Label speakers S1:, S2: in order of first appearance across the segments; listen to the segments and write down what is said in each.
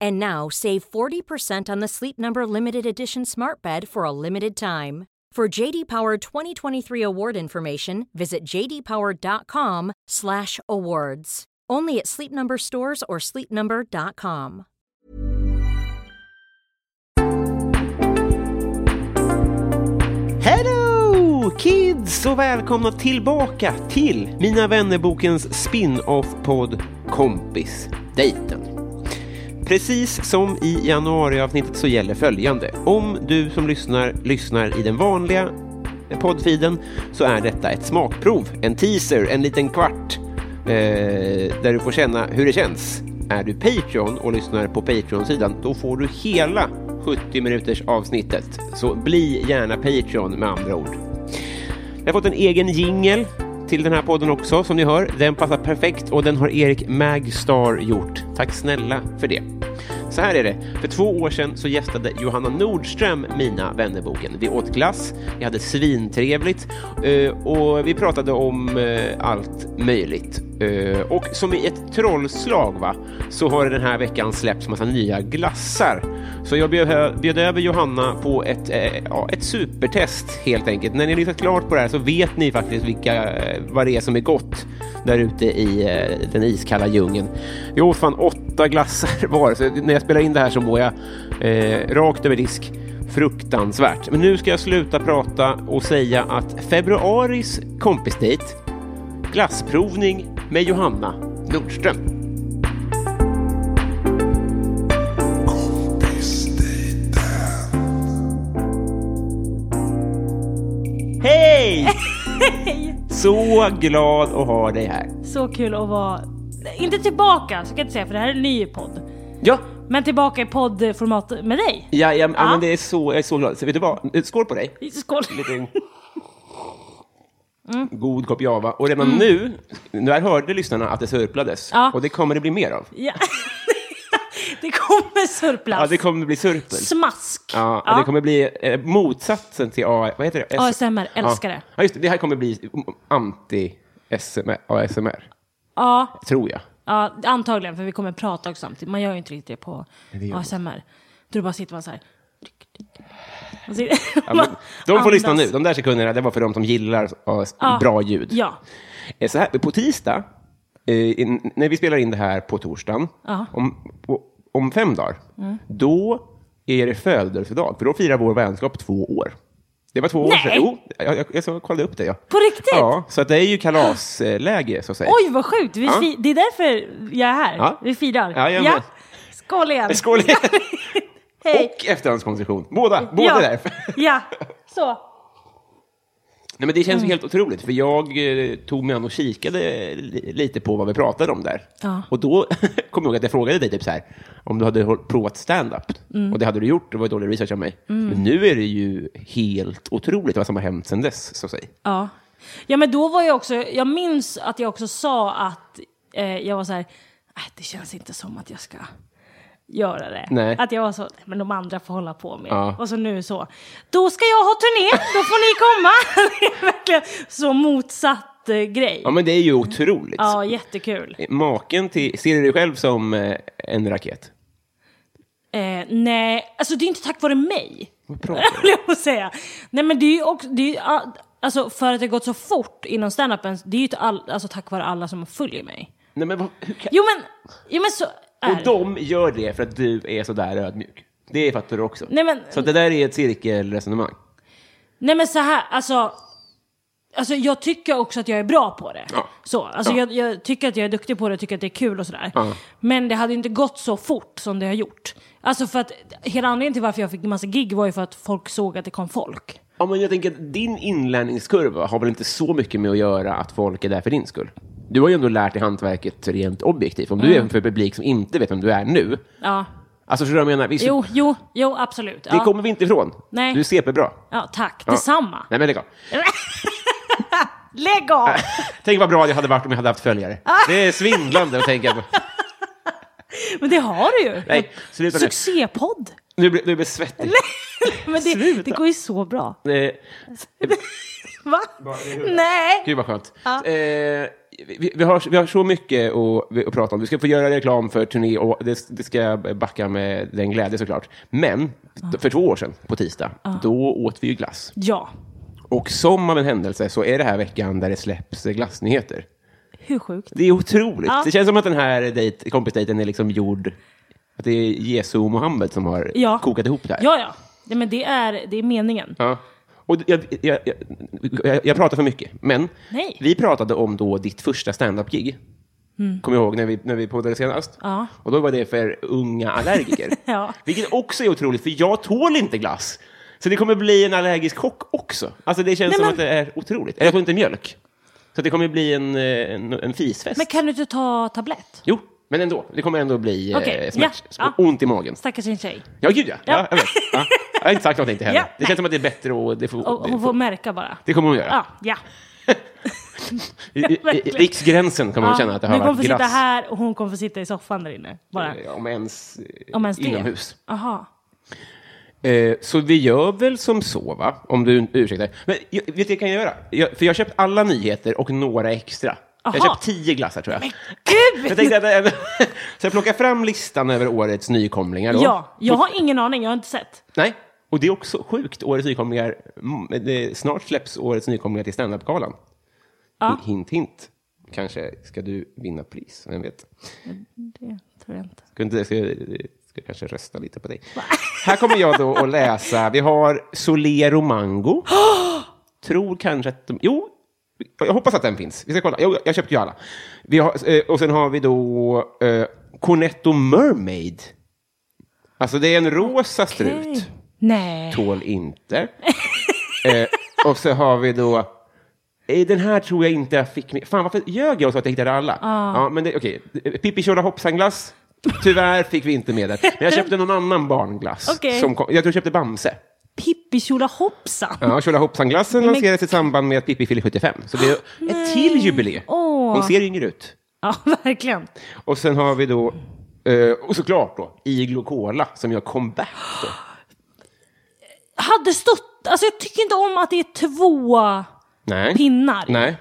S1: And now save 40% on the Sleep Number limited edition Smart Bed for a limited time. For JD Power 2023 award information, visit jdpower.com/awards. Only at Sleep Number stores or sleepnumber.com.
S2: Hello kids och välkomna tillbaka till Mina vännerbokens spin-off-podd Kompisdejten. Precis som i januariavsnittet så gäller följande. Om du som lyssnar lyssnar i den vanliga poddfiden så är detta ett smakprov, en teaser, en liten kvart eh, där du får känna hur det känns. Är du Patreon och lyssnar på Patreon-sidan då får du hela 70 minuters avsnittet. Så bli gärna Patreon med andra ord. Jag har fått en egen jingel till den här podden också, som ni hör. Den passar perfekt och den har Erik Magstar gjort. Tack snälla för det. Så här är det. För två år sedan så gästade Johanna Nordström Mina vännerboken. Vi åt glass, vi hade svintrevligt eh, och vi pratade om eh, allt möjligt. Eh, Och som i ett trollslag va, så har det den här veckan släppts massa nya glassar. Så jag bjöd, bjöd över Johanna på ett, eh, ja, ett supertest helt enkelt. När ni har lyssnat klart på det här så vet ni faktiskt vilka, eh, vad det är som är gott där ute i eh, den iskalla djungeln. Jag åt fan åtta glassar var, så när jag spelar in det här så mår jag eh, rakt över disk. Fruktansvärt. Men nu ska jag sluta prata och säga att februaris kompisdejt Glassprovning med Johanna Nordström. Hej! Så glad att ha dig här.
S3: Så kul att vara, inte tillbaka så kan jag inte säga för det här är en ny podd.
S2: Ja,
S3: Men tillbaka i poddformat med dig.
S2: ja, ja, ja.
S3: Ja.
S2: Men det är så, jag är så glad. Så vet du vad? Skål på dig.
S3: Skål!
S2: Lite... God kopp java. Och redan nu, där hörde lyssnarna att det sörplades.
S3: Ja.
S2: Och det kommer det bli mer av.
S3: Ja. Det kommer surplast.
S2: Ja, det kommer bli sörpel.
S3: Smask.
S2: Ja, Det kommer bli eh, motsatsen till A, vad heter det? S-
S3: ASMR, älskar det.
S2: Ja, just det. Det här kommer bli anti-ASMR,
S3: ja,
S2: tror jag.
S3: ja, antagligen för vi kommer prata också samtidigt. Man gör ju inte riktigt det på ASMR. Då bara sitter man så här. Och så-
S2: Ja, men, de får
S3: Andas.
S2: lyssna nu. De där sekunderna, det var för de som gillar AS-
S3: Ja.
S2: bra ljud.
S3: Ja.
S2: Eh, Så här, på tisdag, eh, in, när vi spelar in det här på torsdagen,
S3: Ja. Mm.
S2: om, på- om fem dagar, då är det födelsedag, för då firar vår vänskap två år. Det var två år
S3: Nej.
S2: sedan. Jo, jag, jag, jag, så kollade upp det. Ja.
S3: På riktigt?
S2: Ja, så att det är ju kalasläge, så att säga.
S3: Oj vad sjukt, vi
S2: Ja.
S3: fi- det är därför jag är här.
S2: Ja.
S3: Vi firar.
S2: Ja, jag med.
S3: Skål igen.
S2: Skål!
S3: Hej.
S2: Och efterhandskonstruktion. Båda, båda
S3: ja.
S2: därför.
S3: Ja, så.
S2: Nej, men det känns
S3: Mm.
S2: ju helt otroligt, för jag eh, tog mig an och kikade li- lite på vad vi pratade om där.
S3: Ja.
S2: Och då kom jag ihåg att jag frågade dig typ så här, om du hade håll- provat stand-up.
S3: Mm.
S2: Och det hade du gjort, det var dålig research av mig. Men nu är det ju helt otroligt vad som har hänt sedan dess, så att säga.
S3: Ja. ja, men då var jag också, jag minns att jag också sa att eh, jag var så här, "Äh, det känns inte som att jag ska göra det.
S2: Nej.
S3: Att jag var så, "Nej, men de andra får hålla på med.
S2: Ja.
S3: Och så nu så, då ska jag ha turné, då får ni komma. det är verkligen så motsatt eh, grej.
S2: Ja, men det är ju otroligt. Eh,
S3: Ja, jättekul.
S2: Maken till, ser du dig själv som eh, en raket?
S3: Eh, nej, alltså det är inte tack vare mig.
S2: Vad pratar
S3: höll jag på att säga. Nej men det är ju också, det är ju, all- alltså för att det har gått så fort inom standupen, det är ju till all, alltså tack vare alla som följer mig.
S2: Nej, men vad, hur kan...
S3: Jo men, jo men så är
S2: Och de gör det för att du är sådär ödmjuk. Det fattar du också.
S3: Nej, men-
S2: Så att det där är ett cirkelresonemang.
S3: Nej men så här, alltså. Alltså jag tycker också att jag är bra på det.
S2: Ja.
S3: Så, alltså
S2: Ja.
S3: jag, jag tycker att jag är duktig på det, tycker att det är kul och sådär.
S2: Ja.
S3: Men det hade inte gått så fort som det har gjort. Alltså för att hela anledningen till varför jag fick en massa gig var ju för att folk såg att det kom folk.
S2: Ja, men jag tänker att din inlärningskurva har väl inte så mycket med att göra att folk är där för din skull? Du har ju ändå lärt dig hantverket rent objektivt. Om du
S3: Mm.
S2: är för publik som inte vet vem du är nu.
S3: Ja.
S2: Alltså, förstår du vad jag menar? Visst,
S3: Jo, jo, jo absolut.
S2: Det
S3: Ja,
S2: kommer vi inte ifrån.
S3: Nej.
S2: Du är CP-bra.
S3: ja tack.
S2: Ja.
S3: Detsamma.
S2: Nej, men lägg av.
S3: Lägg av!
S2: Tänk vad bra det hade varit om jag hade haft följare.
S3: Ah.
S2: Det är svindlande att tänka på.
S3: Men det har du ju.
S2: Nej, sluta nu.
S3: Succépodd.
S2: Nu blir, nu blir jag svettig.
S3: Men det,
S2: Sluta.
S3: det går ju så bra.
S2: Eh,
S3: Va? Nej.
S2: Gud vad skönt. Eh, vi, vi, har, vi har så mycket att, att prata om. Vi ska få göra reklam för turné och det, det ska jag backa med den glädje såklart. Men för två år sedan, på tisdag, då åt vi ju glass.
S3: Ja.
S2: Och som av en händelse så är det här veckan där det släpps glassnyheter.
S3: Hur sjukt?
S2: Det är otroligt.
S3: Ja.
S2: Det känns som att den här dejt, kompisdejten är liksom gjord... Att det är Jesu och Mohammed som har
S3: Ja.
S2: kokat ihop det här.
S3: Ja, ja. Nej, men det är, det är meningen.
S2: Ja. Och jag, jag, jag, jag, jag pratar för mycket, men
S3: Nej.
S2: vi pratade om då ditt första standup-gig. Kommer jag ihåg när vi, när vi poddade senast?
S3: Mm. Ja.
S2: Och då var det för unga allergiker.
S3: Ja.
S2: Vilket också är otroligt, för jag tål inte glass. Så det kommer bli en allergisk chock också. Alltså det känns
S3: Nej,
S2: som
S3: men-
S2: att det är otroligt. Eller jag tål inte mjölk. Så det kommer bli en, eh, en, en fisfest.
S3: Men kan du inte ta tablett?
S2: Jo, men ändå. Det kommer ändå bli
S3: Okej,
S2: eh,
S3: ja,
S2: smärt,
S3: ja.
S2: ont i magen.
S3: Stackars din tjej.
S2: Ja, gud ja. ja. jag, vet. Ja. jag har inte sagt någonting till henne.
S3: Ja,
S2: det känns som att det är bättre och det får...
S3: Och,
S2: det
S3: hon får märka bara.
S2: det kommer hon göra.
S3: Ja, ja.
S2: I, i, i,
S3: verkligen.
S2: riksgränsen kommer hon känna att det har
S3: du kommer få
S2: varit
S3: sitta
S2: glass.
S3: här och hon kommer få sitta i soffan där inne. Bara.
S2: eh, Om ens, eh,
S3: Om ens det.
S2: inomhus.
S3: Aha.
S2: Eh, så vi gör väl som så, va? Om du ursäktar. Men jag, vet du vad jag kan göra? Jag, för jag har köpt alla nyheter och några extra. Jag har
S3: Aha.
S2: köpt tio glassar, tror jag.
S3: Gud!
S2: jag tänkte att, så jag plockar fram listan över årets nykomlingar. Då.
S3: Ja, jag har ingen aning, jag har inte sett.
S2: Nej, och det är också sjukt. Årets nykomlingar, mm, det, snart släpps årets nykomlingar till standup-galan.
S3: Ja.
S2: Hint, hint. Kanske ska du vinna pris, vem vet?
S3: Det tror jag inte.
S2: Ska, inte, ska, ska kanske rösta lite på dig. Här kommer jag då att läsa. Vi har Solero Mango. Tror kanske att de... Jo, jag hoppas att den finns. Vi ska kolla. Jo, jag köpte ju alla. Vi har, eh, och sen har vi då eh, Cornetto Mermaid. Alltså det är en rosa strut.
S3: Nej.
S2: Tål inte. eh, och så har vi då... eh, Den här tror jag inte jag fick med. Fan, varför ljög jag och sa att jag hittade alla?
S3: Ah.
S2: Ja, men det, okej. Pippi Tjola hoppsanglass. Tyvärr fick vi inte med det. Men jag köpte någon annan barnglass.
S3: Okej.
S2: Som kom, jag tror jag köpte Bamse.
S3: Pippi-kjola hoppsan.
S2: Ja, Tjola hoppsanglassen
S3: men-
S2: lanserades i samband med att Pippi fyller 75. Så det är ett till jubileum.
S3: Åh.
S2: Hon ser yngre ut.
S3: Ja, verkligen.
S2: Och sen har vi då, eh, och såklart då, Iglo Cola som gör comeback. Då.
S3: Hade stått... Alltså jag tycker inte om att det är två
S2: Nej.
S3: pinnar.
S2: Nej.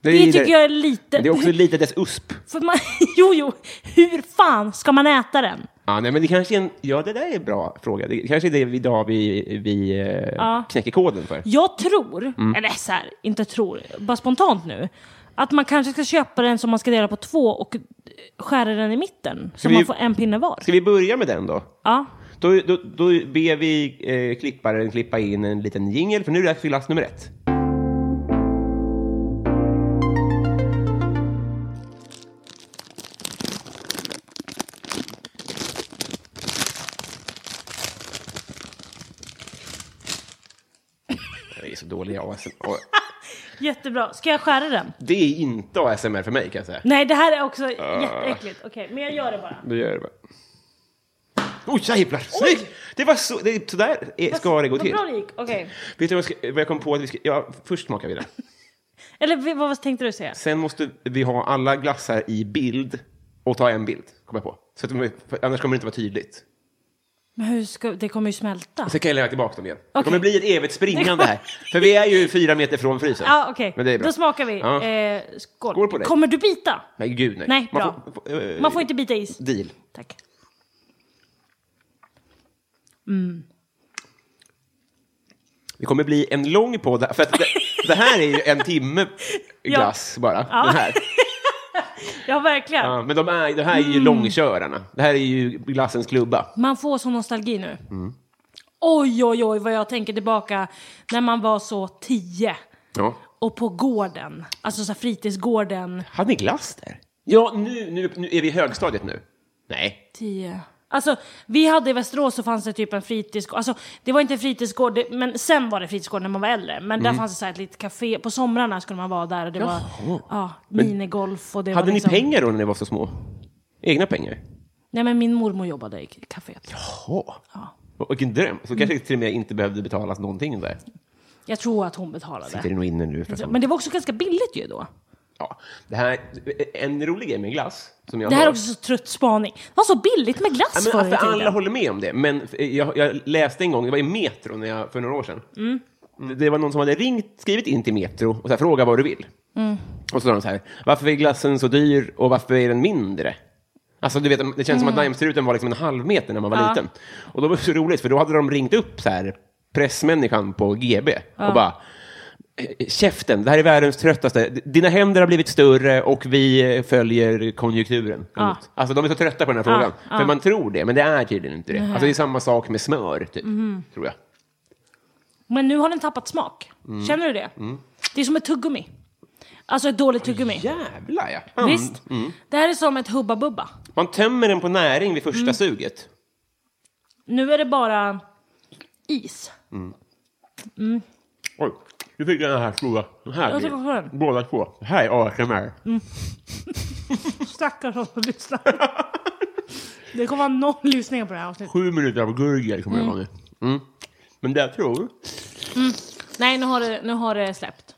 S2: Det,
S3: Det tycker jag är lite...
S2: Men det är också lite dess USP.
S3: För man, jo, jo. Hur fan ska man äta den?
S2: Ja, nej, men det kanske är en, ja, det där är en bra fråga. Det kanske är det vi idag vi, vi eh, knäcker koden för.
S3: Jag tror,
S2: Mm.
S3: eller så här, inte tror, bara spontant nu, att man kanske ska köpa den som man ska dela på två och eh, skära den i mitten. Så
S2: vi-
S3: man får en pinne var.
S2: Ska vi börja med den då?
S3: Ja.
S2: Då, då, då ber vi eh, klipparen klippa in en liten jingle, för nu är det dags för glass nummer ett. Det är så dåliga ASMR.
S3: Jättebra. Ska jag skära den?
S2: Det är inte ASMR för mig kan jag säga.
S3: Nej, det här är också
S2: Ah.
S3: jätteäckligt. Okej, men jag gör det bara.
S2: Du gör det bara. Oj, Oh, jävlar! Snyggt! Det var så, det, sådär är- ska det gå
S3: Vad
S2: till.
S3: bra det gick. Okej.
S2: Vet du vad jag, ska, vad jag kom på att vi ska... Ja, först smakar vi det.
S3: Eller vi- vad tänkte du säga?
S2: Sen måste vi ha alla glassar i bild och ta en bild, kom jag på. Så att de, för annars kommer det inte vara tydligt.
S3: Men hur ska... Det kommer ju smälta.
S2: Sen kan jag lämna tillbaka dem igen. Det
S3: Okej.
S2: kommer bli ett evigt springande här. För vi är ju fyra meter från frysen.
S3: Ja, okej.
S2: Men det är bra.
S3: Då smakar vi.
S2: Ja.
S3: Eh, skål.
S2: Skål på dig.
S3: Kommer du bita?
S2: Nej, gud nej.
S3: Nej,
S2: Man
S3: bra.
S2: får, får, eh,
S3: Man får inte bita is.
S2: Deal.
S3: Tack.
S2: Det kommer bli en lång podd, för att det, det här är ju en timme
S3: Ja.
S2: glass bara.
S3: Ja.
S2: Den här.
S3: Ja, verkligen.
S2: Ja, Mm. men de är, det här är ju långkörarna. Det här är ju glassens klubba.
S3: Man får sån nostalgi nu.
S2: Mm.
S3: Oj, oj, oj vad jag tänker tillbaka när man var så tio.
S2: Ja.
S3: Och på gården, alltså så här fritidsgården.
S2: Hade ni glass där? Ja, nu, nu, nu är vi i högstadiet nu. Nej.
S3: Tio. Alltså, vi hade i Västerås så fanns det typ en fritidsgård. Alltså, det var inte en fritidsgård, det, men sen var det fritidsgård när man var äldre. Men
S2: Mm.
S3: där fanns det så här ett litet café. På somrarna skulle man vara där och det var ja, minigolf och det
S2: Hade
S3: var
S2: ni
S3: liksom,
S2: pengar då när ni var så små? Egna pengar?
S3: Nej, men min mormor jobbade i kaféet.
S2: Jaha. Och Vilken dröm. Så kanske till och med inte behövde betalas någonting där.
S3: Jag tror att hon
S2: Sitter
S3: betalade.
S2: det nog inne nu. För att
S3: Men det var också ganska billigt ju då.
S2: Ja, det här, en rolig grej med glass som jag
S3: Det här är
S2: har.
S3: också så trött spaning. Det var så billigt med glass
S2: ja,
S3: förr
S2: men,
S3: i
S2: för
S3: tiden.
S2: alla håller med om det, men f- jag, jag läste en gång, det var i Metro när jag, för några år sedan. Det- Det var någon som hade ringt, skrivit in till Metro och så här, fråga vad du vill. Och så sa de så här, varför är glassen så dyr och varför är den mindre? Alltså, du vet, det känns som att Daimstruten var liksom en halv meter när man var liten. Och då var det så roligt, för då hade de ringt upp så här, pressmänniskan på GB och bara "Eh, Käften, det här är världens tröttaste. D- Dina händer har blivit större och vi eh, följer konjunkturen.
S3: Ja.
S2: Alltså de är så trötta på den här
S3: Ja,
S2: frågan.
S3: ja.
S2: För man tror det, men det är tydligen inte det. Alltså det är samma sak med smör, typ.
S3: Mhm.
S2: Tror jag.
S3: Men nu har den tappat smak.
S2: Mm.
S3: Känner du det? Det är som ett tuggummi. Alltså ett dåligt tuggummi.
S2: Jävlar ja. Mm. Hand.
S3: Visst? Det här är som ett Hubba Bubba.
S2: Man tömmer den på näring vid
S3: Mm.
S2: första suget.
S3: Nu är det bara is.
S2: Oj, nu fick jag den här stora. Den här
S3: Jag
S2: grejen.
S3: tycker också den.
S2: Båda två. Det här är ASMR.
S3: Mm. Stackars de som lyssnar. Det kommer vara noll lyssningar på det här avsnittet.
S2: Sju minuter av gurgel kommer jag vara nu. Mm. Men det jag tror...
S3: Nej, nu har det, nu har det släppt.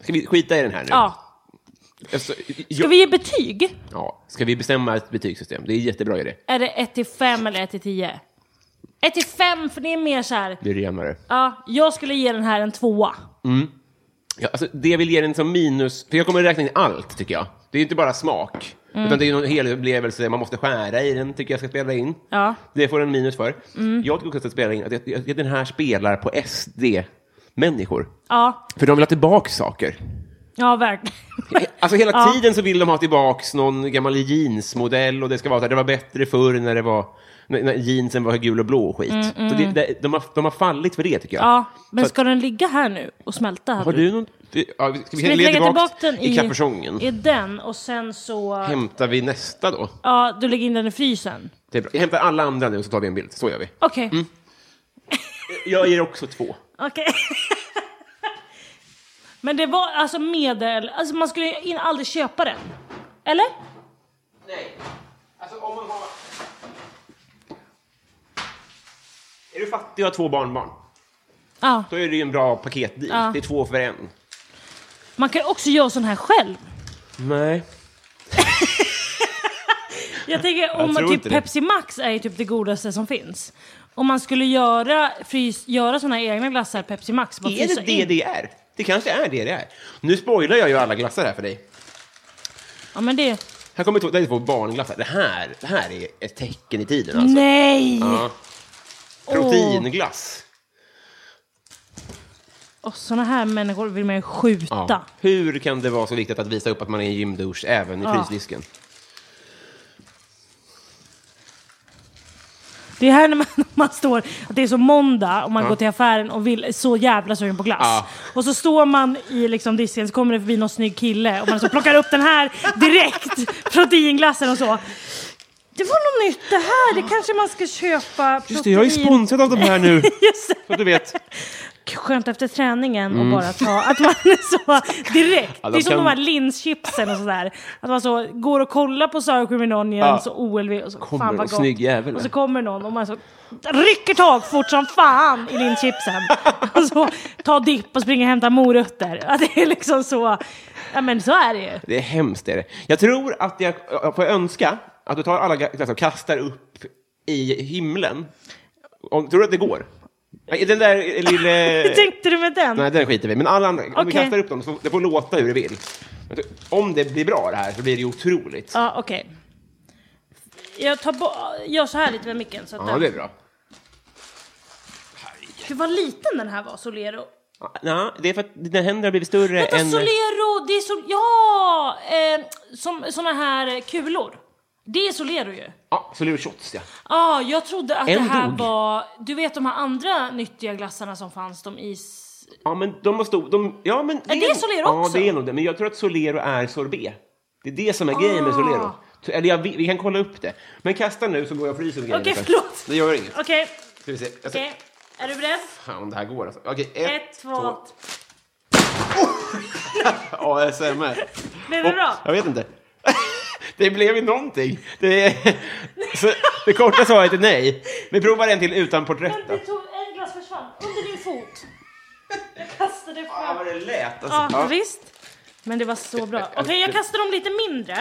S2: Ska vi skita i den här nu?
S3: Ja.
S2: Efter,
S3: Ska
S2: jag,
S3: vi ge betyg?
S2: ja. Ska vi bestämma ett betygssystem? Det är en jättebra idé.
S3: Är det 1 till 5 eller 1 till 10? 1 till 5, för det är mer så här.
S2: Det är renare.
S3: Ja, jag skulle ge den här en tvåa.
S2: Ja, alltså, det jag vill ge den som minus, för jag kommer räkna in allt tycker jag. Det är ju inte bara smak,
S3: Mm.
S2: utan det är ju en hel upplevelse, man måste skära i den tycker jag ska spela in.
S3: Ja. Mm.
S2: Det får den minus för. Jag tycker också att jag spela in att jag- jag- den här spelar på SD-människor.
S3: Ja,
S2: För de vill ha tillbaka saker.
S3: ja verkligen.
S2: Alltså hela
S3: Ja.
S2: tiden så vill de ha tillbaka någon gammal jeansmodell och det ska vara så här, det var bättre förr när det var när när jeansen var gul och blå och skit. Så det, det, de, har, de har fallit för det tycker jag.
S3: Mm, Ja, men
S2: Så att-
S3: ska den ligga här nu och smälta?
S2: Har du någon... Ja, ska vi
S3: Ska vi
S2: lägga tillbaka
S3: tillbaka den
S2: i, i kapuschongen?
S3: I den och sen så...
S2: Hämtar vi nästa då?
S3: Ja, du lägger in den i frysen.
S2: Det är bra. Jag hämtar alla andra nu så tar vi en bild. Så gör vi.
S3: Okej,
S2: Mm. Jag ger också två.
S3: okej. men det var alltså medel... Alltså man skulle in, aldrig köpa den. Eller?
S2: Nej. Alltså om man har... Är du fattig och har två barnbarn,
S3: Ja.
S2: då är det ju en bra paketdeal.
S3: Ja.
S2: Det är två för en.
S3: Man kan också göra sån här själv.
S2: Nej.
S3: Jag tänker om
S2: tror
S3: man, typ
S2: inte det.
S3: Pepsi Max är ju typ det godaste som finns. Om man skulle göra, frys, göra såna här egna glassar, Pepsi Max, bara
S2: Är
S3: frysa
S2: det det
S3: in.
S2: det är? Det kanske är det det är. Nu spoilar jag ju alla glassar här för dig.
S3: Ja men det...
S2: Här kommer två, det är två barnglassar. Det här, det här är ett tecken i tiden alltså.
S3: Nej!
S2: Ja. Proteinglass.
S3: Och såna här människor vill man ju skjuta.
S2: Ja. Hur kan det vara så viktigt att visa upp att man är en gymdusch även i
S3: Ja.
S2: frysdisken?
S3: Det är här när man, man står, att det är så måndag och man går till affären och vill så jävla sugen på glass.
S2: Ja.
S3: Och så står man i liksom disken så kommer det förbi någon snygg kille och man så plockar upp den här direkt, proteinglassen och så. Det var något nytt det här, det kanske man ska köpa protein.
S2: Just det, jag är sponsrad av de här nu.
S3: Just det.
S2: Så att du vet.
S3: Skönt efter träningen och bara ta, att man är så direkt.
S2: Mm. Ja, de
S3: det är som
S2: kan-
S3: de här linschipsen och sådär. Att man så går och kollar på Sour Cream and
S2: Ja.
S3: Onions och OLV och så
S2: Kommer
S3: fan
S2: någon
S3: vad gott.
S2: snygg jävel.
S3: Och så kommer någon och man så rycker tag fort som fan i linschipsen. och så tar dipp och springer och hämtar morötter. Att det är liksom så, ja men så är det ju.
S2: Det är hemskt. det Är det. Jag tror att jag jag får önska att du tar alla glassar och kastar upp i himlen. Om, tror du att det går? Nej, Den där lille...
S3: Hur tänkte du med den?
S2: Eh. Nej, den skiter vi i. Men alla andra, om vi
S3: Okej.
S2: kastar upp dem, så får, det får låta hur det vill. Men Om det blir bra det här så blir det ju otroligt.
S3: Ja okej. Jag tar bo- gör så här lite med micken så att
S2: Ja,
S3: den-
S2: det är bra. Här är
S3: Gud vad liten den här var, Solero.
S2: Ja, det är för att dina händer har blivit större
S3: Vänta,
S2: än...
S3: Solero, det är sol... Ja! Eh, som såna här kulor. Det är Solero ju.
S2: Ja, Solero shots ja.
S3: Ja, jag trodde att
S2: En
S3: det här
S2: dog.
S3: var... Du vet de här andra nyttiga glassarna som fanns, de is...
S2: Ja men de har stor... De, ja, men
S3: Är det Solero
S2: ja,
S3: också?
S2: det är nog det. Men jag tror att Solero är sorbet. Det är det som är grejen med Solero.
S3: Ah.
S2: Så- Eller jag, vet- vi kan kolla upp det. Men kasta nu så går jag och fryser grejen.
S3: Okej,
S2: först.
S3: förlåt.
S2: Det gör inget.
S3: Okej,
S2: Ska vi se. Jag ska,
S3: okej. Är du beredd?
S2: Fan om det här går alltså. Okej, ett,
S3: Ett, två...
S2: ASMR.
S3: Blev det
S2: Och-
S3: bra?
S2: Jag vet inte. Det blev ju någonting. Det, så, det korta svaret är nej. Vi provar en till utan porträtt
S3: Men
S2: då.
S3: du tog... En glass försvann under din fot. Jag kastade
S2: Fan
S3: fram...
S2: Ah, vad det lät
S3: Ja,
S2: alltså. Ja.
S3: visst. Men det var så bra. Okej, jag kastar dem lite mindre.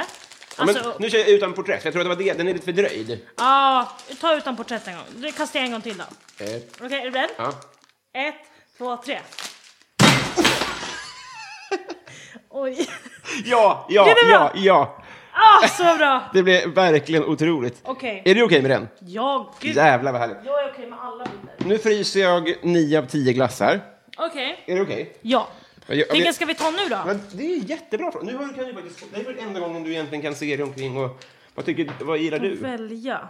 S2: Ja, men,
S3: Alltså,
S2: nu kör jag utan porträtt, jag tror att det var det. Den är lite fördröjd.
S3: ja, ta utan porträtt en gång. Det kastar jag en gång till då. Okej,
S2: Eh,
S3: är du beredd?
S2: ja.
S3: Ett, två, tre. Oj.
S2: Ja, ja,
S3: Blev det
S2: ja,
S3: bra?
S2: ja.
S3: Ah, så bra!
S2: Det blev verkligen otroligt.
S3: Okej.
S2: Är du okej med den?
S3: Ja, gud.
S2: Jävlar vad härligt.
S3: Jag är okej med alla bilder.
S2: Nu fryser jag 9 av 10 glassar.
S3: Okej.
S2: Är det okej?
S3: Ja.
S2: Jag- jag-
S3: Vilken ska vi ta nu då?
S2: Men det är en jättebra fråga. Nu har- kan du faktiskt, det är väl enda gången du egentligen kan se dig omkring och vad, tycker, vad gillar du?
S3: Välja.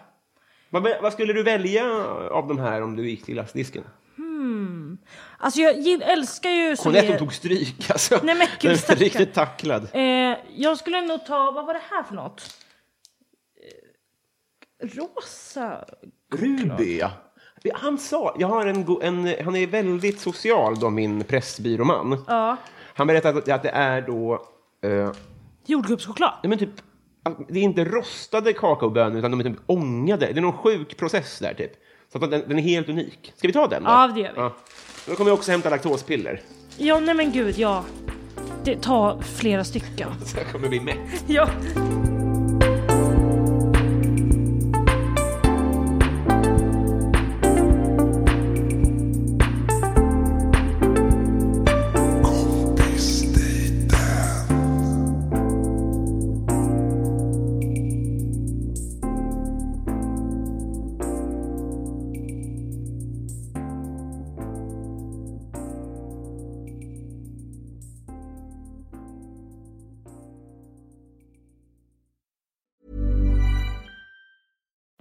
S2: Vad, vad skulle du välja av de här om du gick till glassdisken?
S3: Alltså jag gill- älskar ju... som
S2: Cornetto
S3: är-
S2: tog stryk alltså.
S3: Nej, men gud,
S2: Den är
S3: stackarn.
S2: Riktigt tacklad.
S3: Eh, jag skulle nog ta, vad var det här för något? Eh, rosa?
S2: Ruby ja. Det- Han sa, jag har en, go- en, han är väldigt social då min pressbyråman.
S3: Ja.
S2: Han berättade att- att det är då, eh, nej
S3: Jordgubbschoklad?
S2: men typ, att det är inte rostade kakaobönor utan de är typ ångade. Det är någon sjuk process där typ. Så att den, den är helt unik. Ska vi ta den då?
S3: Ja, det gör vi.
S2: Då kommer jag också hämta laktospiller.
S3: Ja, nej men gud, ja. Det, ta flera stycken.
S2: Så jag kommer bli mätt.
S3: ja.